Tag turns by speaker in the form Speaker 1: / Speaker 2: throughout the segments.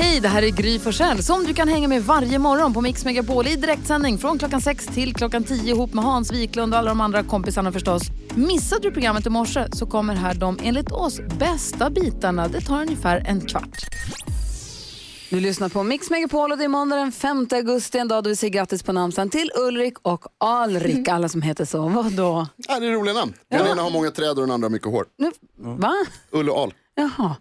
Speaker 1: Hej, det här är Gry Forssell som du kan hänga med varje morgon på Mix Megapol i direktsändning från klockan 6 till klockan 10 ihop med Hans Wiklund och alla de andra kompisarna förstås. Missade du programmet i morse så kommer här de enligt oss bästa bitarna. Det tar ungefär en kvart. Du lyssnar på Mix Megapol och det är måndag den 5 augusti, en dag då vi säger grattis på namnsdagen till Ulrik och Alrik, alla som heter så. Vadå?
Speaker 2: Ja, det är roliga namn. Den ena har många träd och den andra har mycket hår.
Speaker 1: Nu, va?
Speaker 2: Ulle och Al.
Speaker 1: Jaha.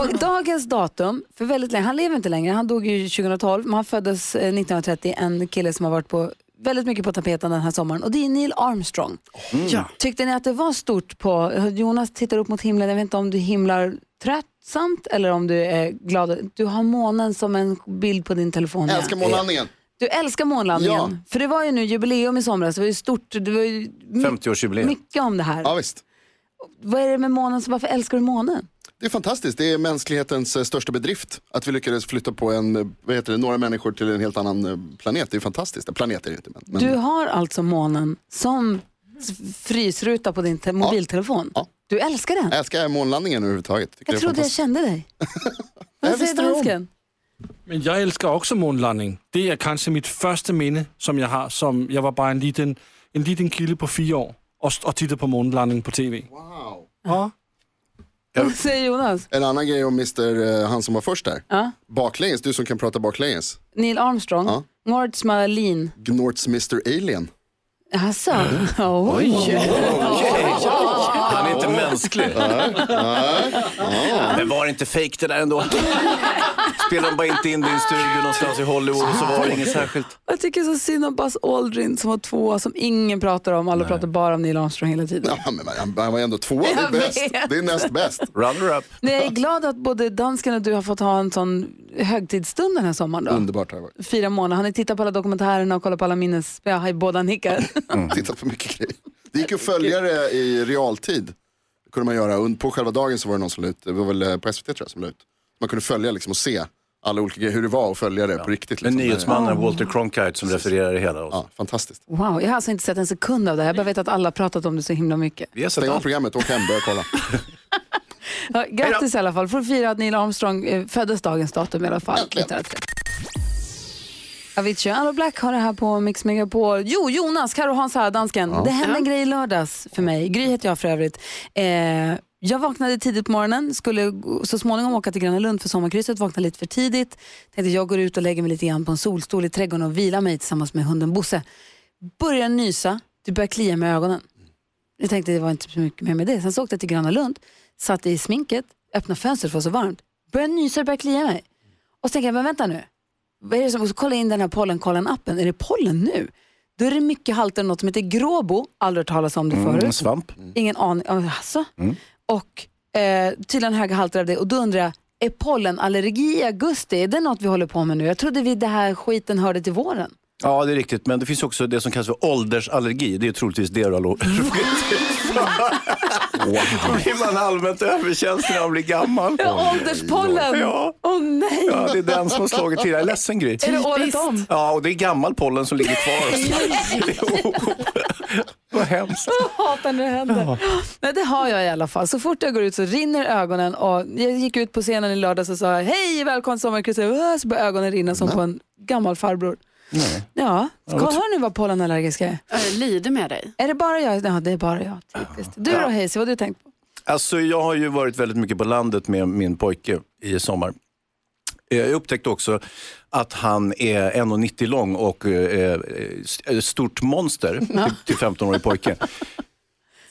Speaker 1: Och dagens datum, för väldigt länge, han lever inte längre, han dog ju 2012, men han föddes eh, 1930, en kille som har varit på väldigt mycket på tapeten den här sommaren och det är Neil Armstrong.
Speaker 2: Mm.
Speaker 1: Tyckte ni att det var stort på, Jonas tittar upp mot himlen, jag vet inte om du himlar tröttsamt eller om du är glad. Du har månen som en bild på din telefon.
Speaker 2: Jag
Speaker 1: ja.
Speaker 2: älskar månlandningen.
Speaker 1: Du älskar månlandningen.
Speaker 2: Ja.
Speaker 1: För det var ju nu jubileum i somras, det var ju stort, det var ju my-
Speaker 3: 50-årsjubileum.
Speaker 1: mycket om det här.
Speaker 2: Ja, visst.
Speaker 1: Vad är det med månen, så varför älskar du månen?
Speaker 2: Det är fantastiskt. Det är mänsklighetens eh, största bedrift. Att vi lyckades flytta på en, eh, vad heter det, några människor till en helt annan eh, planet. Det är fantastiskt. Planet är det inte, men, men
Speaker 1: Du har alltså månen som s- frysruta på din te- mobiltelefon.
Speaker 2: Ja.
Speaker 1: Du älskar den.
Speaker 2: jag älskar månlandningen överhuvudtaget. Tycker
Speaker 1: Jag
Speaker 2: det är
Speaker 1: trodde jag
Speaker 2: fantastiskt.
Speaker 1: kände dig.
Speaker 2: Ja,
Speaker 1: Vad säger
Speaker 2: visst är det om.
Speaker 1: dansken?
Speaker 4: Men jag älskar också månlandning. Det är kanske mitt första minne som jag har som jag var bara en liten, en liten kille på fyra år och, st- och tittade på månlandning på tv.
Speaker 2: Wow.
Speaker 4: Ja.
Speaker 1: Vad säger Jonas?
Speaker 2: En annan grej om Mr. eh, han som var först där.
Speaker 1: Ja.
Speaker 2: Baklänges, du som kan prata baklänges.
Speaker 1: Neil Armstrong,
Speaker 2: Ja.
Speaker 1: Morts Malin.
Speaker 2: Gnorts Mr. Alien.
Speaker 1: Jaså? Oj.
Speaker 3: Han är inte mänsklig. Men var det inte fejk det där ändå? Spelade de bara inte in din studio någonstans i Hollywood och så var det inget särskilt.
Speaker 1: Jag tycker så synd om Buzz Aldrin som var två som ingen pratar om. Alla pratar bara om Neil Armstrong hela tiden.
Speaker 2: Ja, men han, han var ändå tvåa, det
Speaker 1: Jag
Speaker 2: är bäst.
Speaker 1: vet.
Speaker 2: Det är näst bäst.
Speaker 3: Runner up.
Speaker 1: Men jag är glad att både dansken och du har fått ha en sån högtidsstund den här sommaren. Då.
Speaker 2: Underbart har det varit.
Speaker 1: Fyra månader. Han har tittat på alla dokumentärerna och kollat på alla minnes... Ja, båda nickar.
Speaker 2: Tittat på mycket grejer. Det gick ju att följa det i realtid. Det kunde man göra. Und- På själva dagen så var det någon som la ut, det var väl eh, på SVT tror jag som la ut. Man kunde följa liksom och se alla olika grejer, hur det var och följa det på riktigt.
Speaker 3: Med
Speaker 2: Liksom.
Speaker 3: nyhetsmannen Walter Cronkite som refererar det hela.
Speaker 2: Ja, fantastiskt.
Speaker 1: Wow, jag har alltså inte sett en sekund av det här. Jag bara vet att alla har pratat om det så himla mycket.
Speaker 3: Vi har sett
Speaker 2: Stäng av
Speaker 3: allt.
Speaker 2: programmet, åk hem, börja kolla.
Speaker 1: Ja, grattis i alla fall. Får fira att Neil Armstrong eh, föddes dagens datum i alla fall.
Speaker 2: Äntligen.
Speaker 1: 1930. Avicii och Anna Black har det här på Mix Megapol. Jo, Jonas, Karo Hans här, dansken. Det hände en grej i lördags för mig. Gry heter jag för övrigt. Eh, jag vaknade tidigt på morgonen, skulle gå- så småningom åka till Gröna Lund för sommarkrysset, vaknade lite för tidigt. Tänkte jag går ut och lägger mig lite grann på en solstol i trädgården och vilar mig tillsammans med hunden Bosse. Börjar nysa, det börjar klia med ögonen. Jag tänkte det var inte så mycket mer med det. Sen så åkte jag till Gröna Lund, satt i sminket, öppnade fönstret för det var så varmt. Började nysa, det började klia mig. Och så tänkte jag, men vänta nu. Vad är det som, och så kollade jag in den här pollenkollen-appen. Är det pollen nu? Då är det mycket halter av något som heter gråbo. Aldrig hört talas om det förut.
Speaker 3: Mm, svamp. Mm.
Speaker 1: Ingen aning. Oh, Alltså. Och eh, tydligen höga halter av det. Och då undrar jag, är pollenallergi i augusti, är det något vi håller på med nu? Jag trodde vi det här skiten hörde till våren.
Speaker 3: Ja, det är riktigt. Men det finns också det som kallas för åldersallergi. Det är troligtvis det du har lo- Då blir man allmänt överkänslig när man blir gammal.
Speaker 1: Ja, ålderspollen!
Speaker 3: Ja.
Speaker 1: Åh nej!
Speaker 3: Ja, det är den som har slagit till. Jag är ledsen Gry.
Speaker 1: Är det året om?
Speaker 3: Ja, och det är gammal pollen som ligger kvar. Jo. Vad hemskt.
Speaker 1: Jag hatar när det händer. Men det har jag i alla fall. Så fort jag går ut så rinner ögonen. Och jag gick ut på scenen i lördags och sa hej, välkommen till sommarkrysset. Äh, Så började ögonen rinna som på en gammal farbror. Ja, ska, hör ni vad pollenallergisk jag är?
Speaker 5: Jag lider med dig.
Speaker 1: Är det bara jag? Ja, det är bara jag. Typiskt. Du då Hayes, vad har du tänkt på?
Speaker 3: Alltså, jag har ju varit väldigt mycket på landet med min pojke i sommar. Eh, Jag upptäckte också att han är 1,90 lång och eh, eh, st- eh, stort monster till- till 15-årig pojke.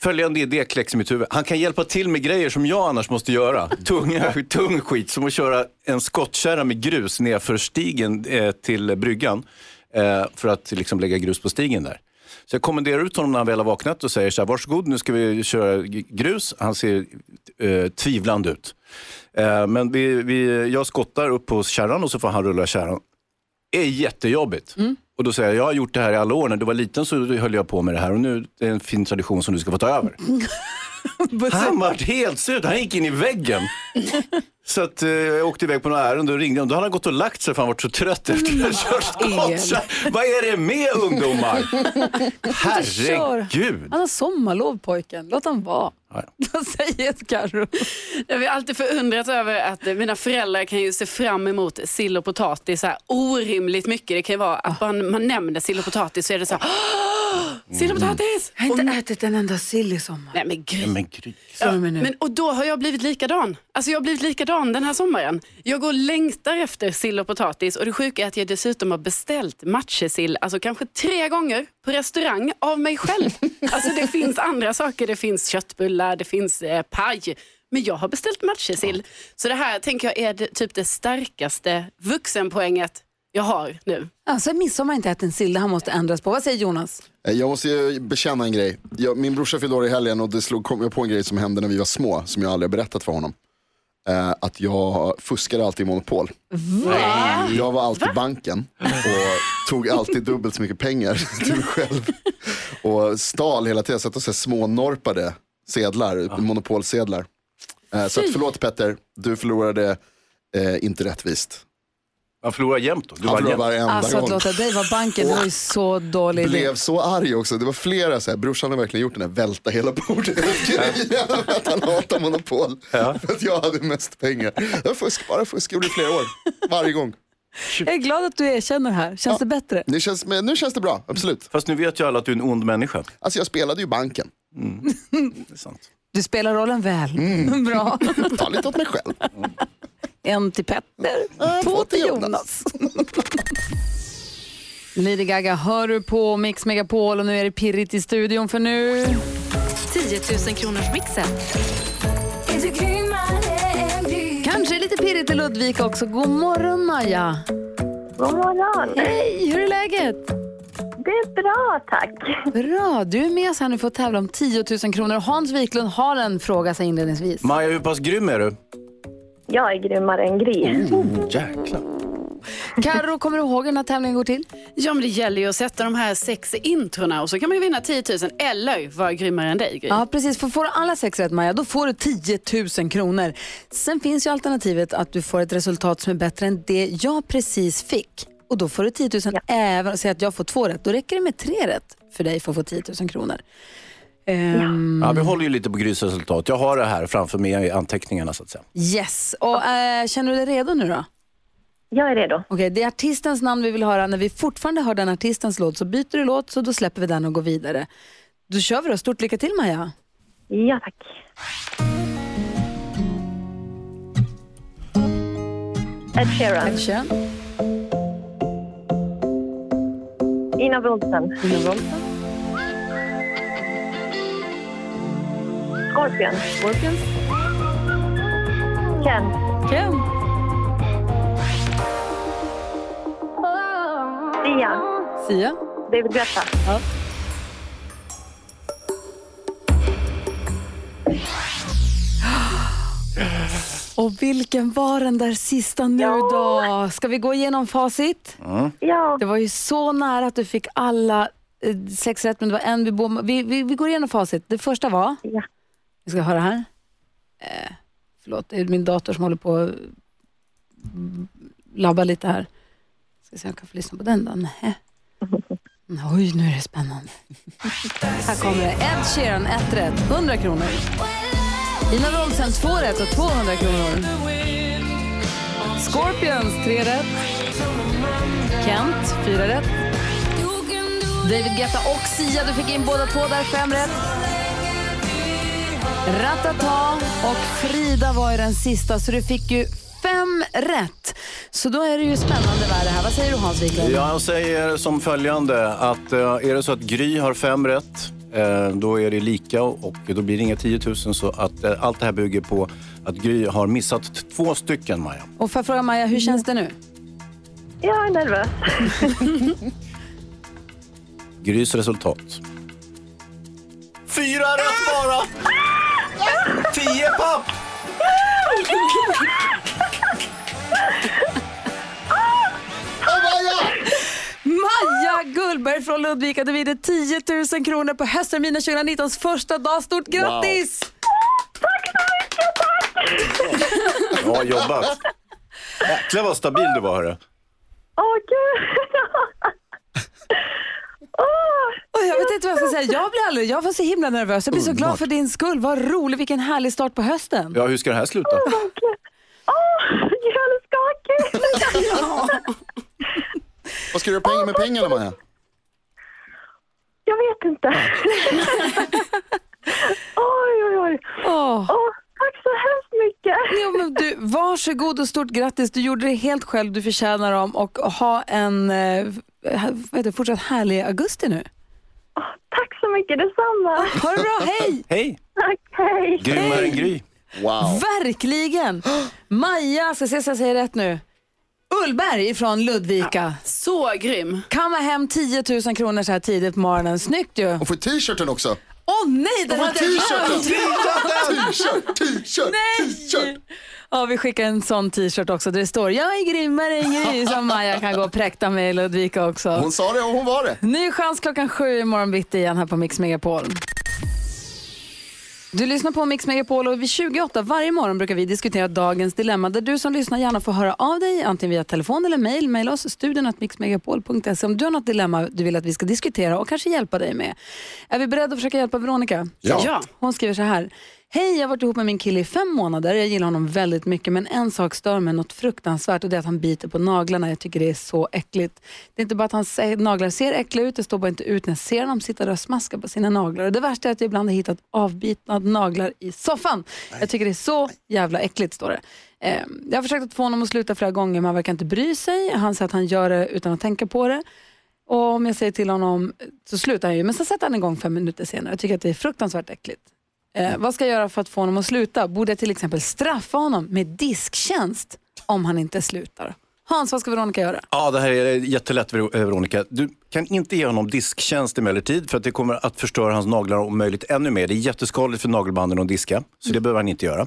Speaker 3: Följande idé kläcks i mitt huvud. Han kan hjälpa till med grejer som jag annars måste göra. Tunga, tung skit, som att köra en skottkärra med grus nerför stigen eh, till bryggan eh, för att liksom lägga grus på stigen där. Så jag kommenderar ut honom när han väl har vaknat och säger så här, varsågod nu ska vi köra g- grus. Han ser eh, tvivlande ut. Eh, men vi, vi, jag skottar upp på kärran och så får han rulla kärran. Det är jättejobbigt. Och då säger jag, jag har gjort det här i alla år. När du var liten så höll jag på med det här och nu är det en fin tradition som du ska få ta över. Han var helt slut, han gick in i väggen. så att, eh, jag åkte iväg på några ärende och ringde honom. Då hade han gått och lagt sig för han var så trött efter att ha kört så, Vad är det med ungdomar? Herregud.
Speaker 1: Han har sommarlov pojken, låt han vara.
Speaker 3: Ja,
Speaker 1: Vad säger Carro?
Speaker 5: Jag har ju alltid förundrats över att eh, mina föräldrar kan ju se fram emot sill och potatis så här orimligt mycket. Det kan ju vara att man, man nämner sill och potatis så är det så här, "Åh, sill och potatis!
Speaker 1: Jag har inte ätit en enda sill i sommar.
Speaker 5: Nej men gud.
Speaker 3: Men gry.
Speaker 1: Slår du mig nu.
Speaker 5: Men, och då har jag blivit likadan. Alltså jag har blivit likadan den här sommaren. Jag går och längtar efter sill och potatis och det sjuka är att jag dessutom har beställt matjessill, alltså kanske tre gånger på restaurang av mig själv. Alltså det finns andra saker, det finns köttbullar, det finns eh, paj. Men jag har beställt matjessill. Så det här tänker jag är det, typ det starkaste vuxenpoänget jag har nu.
Speaker 1: Alltså midsommar har jag inte ätit en sill, det här måste ändras på. Vad säger Jonas?
Speaker 2: Eh, Jag måste ju bekänna en grej. Jag, min brorsa fyllde år i helgen och det slog, kom jag på en grej som hände när vi var små, som jag aldrig har berättat för honom. Eh, att jag fuskade alltid i Monopol. Jag var alltid banken och tog alltid dubbelt så mycket pengar till mig själv. Och stal hela tiden, jag satt och så här smånorpade sedlar, monopolsedlar. Eh, så att, förlåt Petter, du förlorade eh, inte rättvist.
Speaker 3: Han förlorar jämt då. Du
Speaker 2: Han
Speaker 3: var
Speaker 2: förlorade
Speaker 3: jämt.
Speaker 2: varenda
Speaker 1: Alltså att
Speaker 2: gång.
Speaker 1: låta dig vara banken, det var ju så dålig idé.
Speaker 2: blev så arg också. Det var flera så här, brorsan har verkligen gjort den här välta hela bordet grejen. att han hatar monopol. För att jag hade mest pengar. Det var fusk, bara fusk, gjorde det i flera år. Varje gång.
Speaker 1: Jag är glad att du erkänner det här, känns det bättre?
Speaker 2: Nu känns, men nu känns det bra, absolut.
Speaker 3: Fast nu vet ju alla att du är en ond människa.
Speaker 2: Alltså jag spelade ju banken.
Speaker 3: Det är sant.
Speaker 1: Du spelar rollen väl. Bra.
Speaker 2: Ta lite åt mig själv.
Speaker 1: En till Petter, två
Speaker 2: två till
Speaker 1: till Jonas. Lady Gaga hör du på Mix Megapol och nu är det pirrigt i studion för nu.
Speaker 6: 10 000 kronors mixen.
Speaker 1: Kanske lite pirrigt i Ludvika också. God morgon Maja.
Speaker 7: God morgon!
Speaker 1: Hej, hur är läget?
Speaker 7: Det är bra, tack.
Speaker 1: Bra, du är med oss här nu för att tävla om 10 000 kronor. Hans Wiklund har en fråga sig inledningsvis.
Speaker 3: Maja, hur pass grym är du?
Speaker 7: Jag är grymmare än Gry.
Speaker 3: Jäklar.
Speaker 1: Karo, kommer du ihåg hur den här tävlingen går till?
Speaker 5: Ja men det gäller ju att sätta de här sex introna och så kan man ju vinna 10 000 eller vara grymmare än dig Gry.
Speaker 1: Ja, precis. För får du alla sex rätt, Maja, då får du 10 000 kronor. Sen finns ju alternativet att du får ett resultat som är bättre än det jag precis fick. Och då får du 10 000 även om säg att jag får två rätt. Då räcker det med tre rätt för dig för att få 10 000 kronor. Ehm,
Speaker 3: Ja, vi håller ju lite på Grys resultat. Jag har det här framför mig i anteckningarna så att säga.
Speaker 1: Yes. Och eh, känner du dig redo nu då?
Speaker 7: Jag är redo.
Speaker 1: Okej, det är artistens namn vi vill höra. När vi fortfarande hör den artistens låt så byter du låt så då släpper vi den och går vidare. Då kör vi då. Stort lycka till Maja.
Speaker 7: Ja, tack. Ed Sheeran,
Speaker 1: Kön.
Speaker 7: Ina Wolfsen, Scorpion,
Speaker 1: Scorpions.
Speaker 7: Ken,
Speaker 1: Kön.
Speaker 7: Sia,
Speaker 1: Sia.
Speaker 7: David Guetta.
Speaker 1: Och vilken var den där sista nu då? Ska vi gå igenom facit?
Speaker 7: Ja,
Speaker 1: Det var ju så nära att du fick alla eh, sex rätt, men det var en vi bom- vi, vi, vi går igenom facit. Det första var...
Speaker 7: Ja.
Speaker 1: Vi ska höra här. Eh, förlåt, det är min dator som håller på att mm, labba lite här. Ska se om jag kan få lyssna på den då. Nähä. Mm, Oj, nu är det spännande. Här kommer det. Ed Sheeran, ett rätt, 100 kronor. Ina Rolfsen, två rätt och 200 kronor. Scorpions, tre rätt. Kent, fyra rätt. David Guetta och Sia, du fick in båda två där, fem rätt. Ratata och Frida var ju den sista, så du fick ju fem rätt. Så då är det ju spännande värre här. Vad säger du Hans Wiklund?
Speaker 3: Ja, han säger som följande att eh, är det så att Gry har fem rätt eh, då är det lika och då blir det inga 10 000 så att eh, allt det här bygger på att Gry har missat t- två stycken Maja.
Speaker 1: Och får jag fråga Maja, hur känns det nu?
Speaker 7: jag är nervös.
Speaker 3: Grys resultat. Fyra rätt bara! Tio papp!
Speaker 1: Maja Gullberg från Ludvika. Du vinner 10 000 kronor på höstterminen 2019s första dag. Stort grattis!
Speaker 3: Bra jobbat. Jäklar vad stabil du var hörru.
Speaker 7: Åh, gud! Åh,
Speaker 1: Och jag vet inte vad jag ska säga. Jag blir aldrig, jag var så himla nervös. Jag blir så glad
Speaker 3: Underbart.
Speaker 1: för din skull. Vad roligt, vilken härlig start på hösten.
Speaker 3: Ja, hur ska det här sluta?
Speaker 7: vad kul! Åh, jag är skakig!
Speaker 2: Vad ska du göra pengar med pengarna Maja?
Speaker 7: Jag vet inte. Oj, oj, oj.
Speaker 1: Åh.
Speaker 7: Åh, tack så hemskt mycket.
Speaker 1: Ja, men du, varsågod och stort grattis. Du gjorde det helt själv. Du förtjänar dem. Och ha en eh, vad heter, det, fortsatt härlig augusti nu.
Speaker 7: Tack så mycket, detsamma.
Speaker 1: Ha det bra, hej!
Speaker 3: Hej!
Speaker 7: Tack, hej.
Speaker 3: Grymmare än Gry.
Speaker 2: Wow.
Speaker 1: Verkligen! Maja, ska se så jag säger rätt nu. Ullberg från Ludvika.
Speaker 5: Så grym.
Speaker 1: Kamma hem 10 000 kronor så här tidigt på morgonen. Snyggt ju.
Speaker 2: Och får t-shirten också.
Speaker 1: Åh nej, den
Speaker 2: Får
Speaker 1: hade jag
Speaker 2: t-shirten!
Speaker 1: glömt!
Speaker 2: T-shirt, t-shirt,
Speaker 1: Nej!
Speaker 2: t-shirt.
Speaker 1: Ja, vi skickar en sån t-shirt också där det står “Jag är grymmare än Gry” som Maja kan gå och präkta med i Ludvika också.
Speaker 2: Hon sa det och hon var det.
Speaker 1: Ny chans klockan sju imorgon bitti igen här på Mix Megapol. Du lyssnar på Mix Megapol och vid 28 varje morgon brukar vi diskutera dagens dilemma där du som lyssnar gärna får höra av dig antingen via telefon eller mail. Maila oss studion mixmegapol.se om du har något dilemma du vill att vi ska diskutera och kanske hjälpa dig med. Är vi beredda att försöka hjälpa Veronica?
Speaker 2: Ja.
Speaker 5: Ja.
Speaker 1: Hon skriver så här. Hej, jag har varit ihop med min kille i fem månader. Jag gillar honom väldigt mycket men en sak stör mig något fruktansvärt och det är att han biter på naglarna. Jag tycker det är så äckligt. Det är inte bara att hans eh, naglar ser äckliga ut, det står bara inte ut när jag ser honom sitta där och smaska på sina naglar. Och det värsta är att jag ibland har hittat avbitna naglar i soffan. Jag tycker det är så jävla äckligt, står det. Eh, Jag har försökt att få honom att sluta flera gånger men han verkar inte bry sig. Han säger att han gör det utan att tänka på det. Och om jag säger till honom så slutar han ju, men sen sätter han igång fem minuter senare. Jag tycker att det är fruktansvärt äckligt. Eh, vad ska jag göra för att få honom att sluta? Borde jag till exempel straffa honom med disktjänst om han inte slutar? Hans, vad ska Veronica göra?
Speaker 3: Ja, det här är jättelätt Ver- eh, Veronica. Du kan inte ge honom disktjänst emellertid för att det kommer att förstöra hans naglar om möjligt ännu mer. Det är jätteskadligt för nagelbanden att diska, så det behöver han inte göra.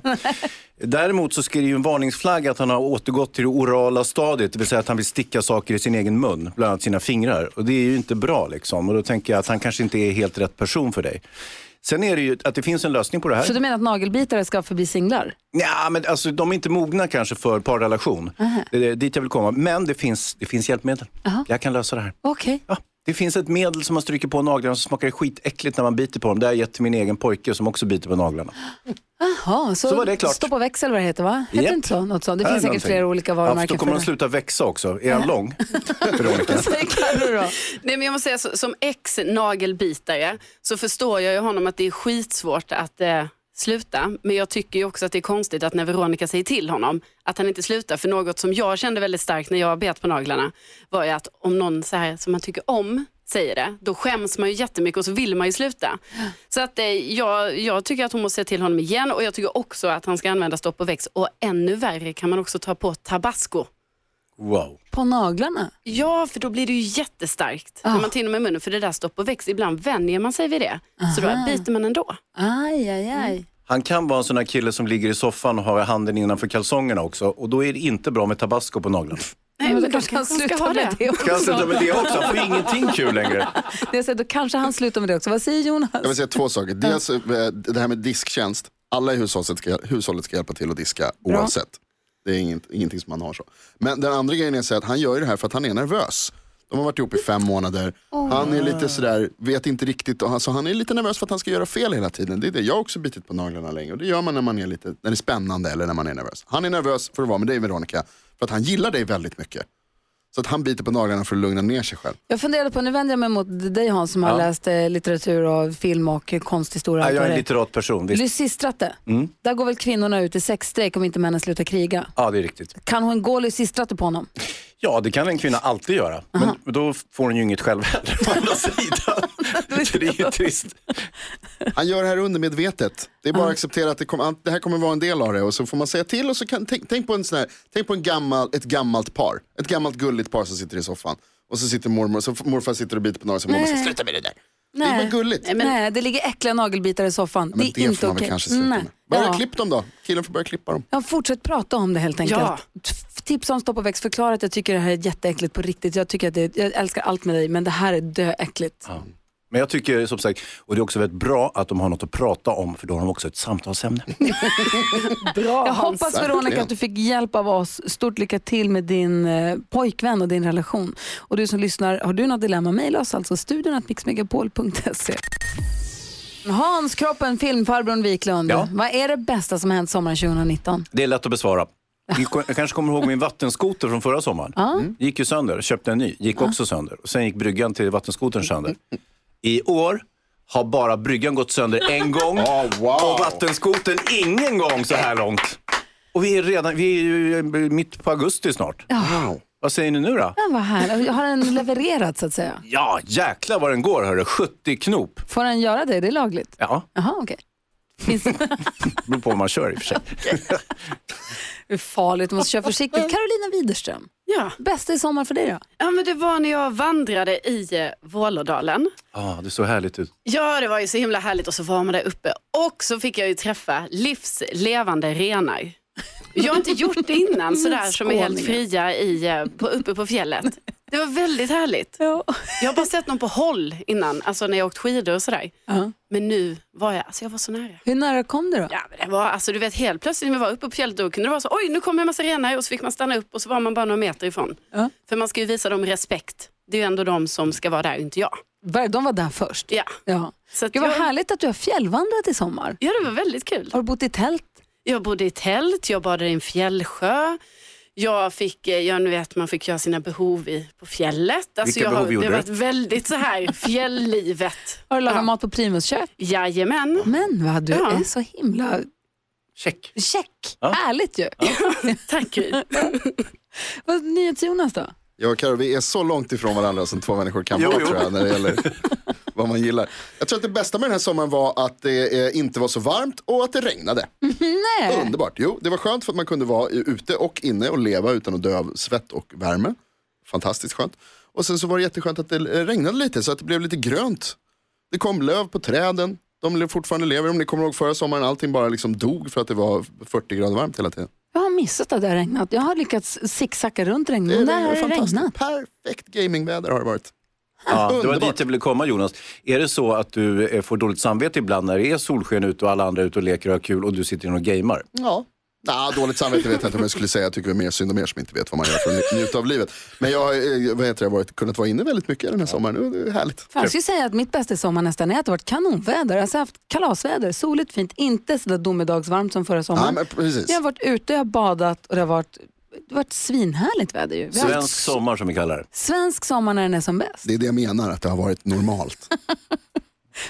Speaker 3: Däremot så ska det ju en varningsflagga att han har återgått till det orala stadiet, det vill säga att han vill sticka saker i sin egen mun, bland annat sina fingrar. Och det är ju inte bra liksom. Och då tänker jag att han kanske inte är helt rätt person för dig. Sen är det ju att det finns en lösning på det här.
Speaker 1: Så du menar att nagelbitare ska förbli singlar?
Speaker 3: Ja, men alltså, de är inte mogna kanske för parrelation. Det är dit jag vill komma. Men det finns, det finns hjälpmedel. Jag kan lösa det här.
Speaker 1: Okej.
Speaker 3: Ja, det finns ett medel som man stryker på naglarna som smakar skitäckligt när man biter på dem. Det har jag gett till min egen pojke som också biter på naglarna.
Speaker 1: Jaha, så,
Speaker 3: Så var det klart.
Speaker 1: stå på växel vad det heter va? Heter
Speaker 3: Japp.
Speaker 1: det inte så? Något sånt. Det
Speaker 3: Här
Speaker 1: finns
Speaker 3: är
Speaker 1: säkert
Speaker 3: någonting.
Speaker 1: flera olika
Speaker 3: ja, för
Speaker 1: varumärken
Speaker 3: Då kommer de
Speaker 1: för det.
Speaker 3: sluta växa också. Är han lång? Veronica?
Speaker 1: Säg Carro då.
Speaker 5: Nej, men jag måste säga, så- som ex-nagelbitare så förstår jag ju honom att det är skitsvårt att eh, sluta. Men jag tycker ju också att det är konstigt att när Veronica säger till honom att han inte slutar. För något som jag kände väldigt starkt när jag bet på naglarna var ju att om någon så här, som man tycker om säger det, då skäms man ju jättemycket och så vill man ju sluta. Så att eh, jag, jag tycker att hon måste säga till honom igen och jag tycker också att han ska använda stopp och väx. Och ännu värre kan man också ta på tabasco.
Speaker 3: Wow.
Speaker 1: På naglarna?
Speaker 5: Ja, för då blir det ju jättestarkt när man tar in dem i munnen. För det där stopp och väx, ibland vänjer man sig vid det. Så då biter man ändå.
Speaker 1: Aj, aj, aj.
Speaker 3: Han kan vara en sån här kille som ligger i soffan och har handen innanför kalsongerna också. Och då är det inte bra med tabasco på naglarna.
Speaker 5: Nej,
Speaker 1: Men då kanske han slutar med det
Speaker 3: Kan han sluta
Speaker 1: också.
Speaker 3: med det också? Han får ingenting kul längre.
Speaker 1: Det jag säger, då kanske han slutar med det också. Vad säger Jonas?
Speaker 2: Jag vill säga två saker. Dels eh, det här med disktjänst. Alla i hushållet ska, hushållet ska hjälpa till att diska oavsett. Det är inget, ingenting som man har så. Men den andra grejen är att, säga att han gör ju det här för att han är nervös. De har varit ihop i fem månader. Han är lite sådär, vet inte riktigt. och han- Så han är lite nervös för att han ska göra fel hela tiden. Det är det. Jag har också bitit på naglarna länge. Och det gör man när, man är lite, när det är spännande eller när man är nervös. Han är nervös för att vara med dig Veronica. För att han gillar dig väldigt mycket. Så att han biter på naglarna för att lugna ner sig själv.
Speaker 1: Jag funderade på, nu vänder jag mig mot dig Hans som har läst eh, litteratur och film och konsthistoria.
Speaker 3: Ja,
Speaker 1: allt
Speaker 3: jag
Speaker 1: vad
Speaker 3: är
Speaker 1: det
Speaker 3: en
Speaker 1: är.
Speaker 3: litterat person. Visst.
Speaker 1: Lysistrate,
Speaker 2: Mm.
Speaker 1: där går väl kvinnorna ut i sexstrejk om inte männen slutar kriga.
Speaker 3: Ja, det är riktigt.
Speaker 1: Kan hon gå Lysistrate på honom?
Speaker 3: Ja, det kan en kvinna alltid göra. Men då får hon ju inget själv heller, å andra sidan. Så det är ju trist.
Speaker 2: Han gör det här undermedvetet. Det är bara att acceptera att det, kom, att det här kommer vara en del av det. Och så får man säga till och så kan, tänk, tänk på, en sån här, tänk på en gammal, ett gammalt par. Ett gammalt gulligt par som sitter i soffan. Och så sitter mormor, så morfar sitter och biter på några så mormor säger sluta med det där. Det är bara gulligt.
Speaker 5: men-
Speaker 1: Nej, det ligger äckliga nagelbitar i soffan.
Speaker 2: Men
Speaker 1: det är inte
Speaker 2: får man
Speaker 1: okej.
Speaker 2: väl kanske sluta
Speaker 1: Nej.
Speaker 2: med. Börja
Speaker 1: Ja.
Speaker 2: klipp dem då. Killen får börja klippa dem.
Speaker 1: Ja, fortsätt prata om det helt enkelt.
Speaker 5: Ja.
Speaker 1: T- tipsa om Stopp och väx. Förklara att jag tycker det här är jätteäckligt på riktigt. Jag, tycker att det, jag älskar allt med dig, men det här är döäckligt.
Speaker 3: Ja. Men jag tycker som sagt, och det är också väldigt bra att de har något att prata om för då har de också ett samtalsämne.
Speaker 5: Bra
Speaker 1: Jag hoppas Veronica
Speaker 2: verkligen.
Speaker 1: att du fick hjälp av oss. Stort lycka till med din eh, pojkvän och din relation. Och du som lyssnar, har du något dilemma, mejla oss alltså studion at mixmegapol.se. Hans Kroppen, filmfarbrorn Wiklund.
Speaker 3: Ja.
Speaker 1: Vad är det bästa som har hänt sommaren 2019?
Speaker 3: Det är lätt att besvara. Ni ko- Jag kanske kommer ihåg min vattenskoter från förra sommaren. Mm. Gick ju sönder, köpte en ny, gick också sönder. Och sen gick bryggan till vattenskotern sönder. I år har bara bryggan gått sönder en gång
Speaker 2: Oh, wow.
Speaker 3: och vattenskotern ingen gång så här långt. Och vi är, redan, vi är ju mitt på augusti snart.
Speaker 2: Wow.
Speaker 3: Vad säger ni nu då?
Speaker 1: Den var här. Har den levererat så att säga?
Speaker 3: Ja, jäklar vad den går hörru. 70 knop.
Speaker 1: Får den göra det? Det är lagligt?
Speaker 3: Ja,
Speaker 1: Jaha, okej. Finns det
Speaker 3: beror på hur man kör i och för sig.
Speaker 1: Hur farligt? Du måste köra försiktigt. Carolina Widerström,
Speaker 5: Ja.
Speaker 1: bästa i sommar för dig då?
Speaker 5: ja, men det var när jag vandrade i eh, Vålådalen.
Speaker 3: Ja, Ah, det såg härligt ut.
Speaker 5: Ja, det var ju så himla härligt och så var man där uppe och så fick jag ju träffa livslevande renar. Jag har inte gjort det innan sådär som är helt
Speaker 1: Skåningar.
Speaker 5: fria i, eh, på, uppe på fjället. Det var väldigt härligt.
Speaker 1: Ja.
Speaker 5: Jag har bara sett någon på håll innan, alltså när jag åkt skidor och sådär. Men nu var jag, alltså jag var så nära.
Speaker 1: Hur nära kom du då?
Speaker 5: Ja, men det var, alltså du vet helt plötsligt när vi var uppe på fjället då kunde det vara så, oj nu kommer en massa renar och så fick man stanna upp och så var man bara några meter ifrån.
Speaker 1: Ja.
Speaker 5: För man ska ju visa dem respekt. Det är ju ändå de som ska vara där, inte jag.
Speaker 1: Var- De var där först.
Speaker 5: Ja.
Speaker 1: Ja.
Speaker 5: Så att
Speaker 1: Gud vad
Speaker 5: jag-
Speaker 1: härligt att du har fjällvandrat i sommar.
Speaker 5: Ja, det var väldigt kul.
Speaker 1: Har du bott i tält?
Speaker 5: Jag bodde i tält, jag badade i en fjällsjö. Jag fick, eh, jag nu vet, man fick göra sina behov i, på fjället. Alltså
Speaker 3: Vilka
Speaker 5: jag har,
Speaker 3: behov gjorde
Speaker 5: Det har
Speaker 3: du?
Speaker 5: varit väldigt så här, fjälllivet.
Speaker 1: Har du lagat
Speaker 5: Ja.
Speaker 1: mat på Primus kök?
Speaker 5: Jajamän.
Speaker 1: Men vad du
Speaker 5: Ja.
Speaker 1: är så himla
Speaker 3: Check.
Speaker 1: check. Härligt ju.
Speaker 5: Tack Gry.
Speaker 1: Vad NyhetsJonas då?
Speaker 2: Jag och Karo, vi är så långt ifrån varandra som två människor kan
Speaker 3: Jo,
Speaker 2: vara
Speaker 3: jo.
Speaker 2: tror jag, när det gäller vad man gillar. Jag tror att det bästa med den här sommaren var att det eh, inte var så varmt och att det regnade.
Speaker 1: Nej.
Speaker 2: Underbart. Jo, det var skönt för att man kunde vara i- ute och inne och leva utan att dö av svett och värme. Fantastiskt skönt. Och sen så var det jätteskönt att det eh, regnade lite så att det blev lite grönt. Det kom löv på träden. De le- fortfarande lever. Om ni kommer ihåg förra sommaren, allting bara liksom dog för att det var 40 grader varmt hela tiden.
Speaker 1: Jag har missat att det har regnat. Jag har lyckats zigzacka runt regnet, men där har det
Speaker 2: fantastiskt.
Speaker 1: regnat.
Speaker 2: Perfekt gamingväder har det varit.
Speaker 3: Ja, det var
Speaker 2: Underbart.
Speaker 3: dit jag ville komma Jonas. Är det så att du eh, får dåligt samvete ibland när det är solsken ute och alla andra är ute och leker och har kul och du sitter inne och gamer?
Speaker 2: Ja. Nah, dåligt samvete vet jag inte om jag skulle säga. Jag tycker det är mer synd om er som inte vet vad man gör för att nj- njuta av livet. Men jag har eh, vad heter det, varit, kunnat vara inne väldigt mycket den här sommaren. och Det är härligt.
Speaker 1: Fan, jag skulle säga att mitt bästa i sommar nästan är att det har varit kanonväder. Alltså, jag har haft kalasväder, soligt, fint, inte sådär domedagsvarmt som förra
Speaker 2: Ja,
Speaker 1: sommaren.
Speaker 2: men precis.
Speaker 1: Jag har varit ute, jag har badat och det har varit, det har varit svinhärligt väder ju. Vi har haft
Speaker 3: Svensk sommar som vi kallar det.
Speaker 1: svensk sommar när den är som bäst.
Speaker 2: Det är det jag menar, att det har varit normalt.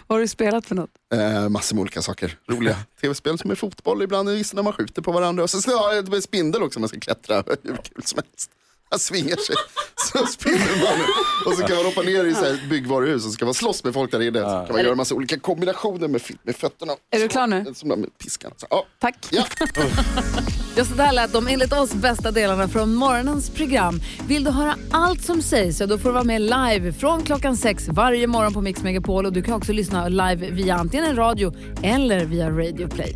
Speaker 1: Vad har du spelat för något?
Speaker 2: Eh, massor med olika saker. Roliga tv-spel som är fotboll ibland, just när man skjuter på varandra. Och sen så har jag en spindel också man ska klättra hur kul som helst. Han svingar sig så spinner man. Och så kan man hoppa ner i så här ett byggvaruhus och så kan man slåss med folk där inne. Så kan man göra massa olika kombinationer med, fi- med fötterna.
Speaker 1: Är du klar nu?
Speaker 2: Som där med piskan. Så, ja.
Speaker 1: Tack.
Speaker 2: Ja.
Speaker 1: Just det här lät de enligt oss bästa delarna från morgonens program. Vill du höra allt som sägs, ja, då får du vara med live från klockan sex varje morgon på Mix Megapol. Och du kan också lyssna live via antingen radio eller via Radio Play.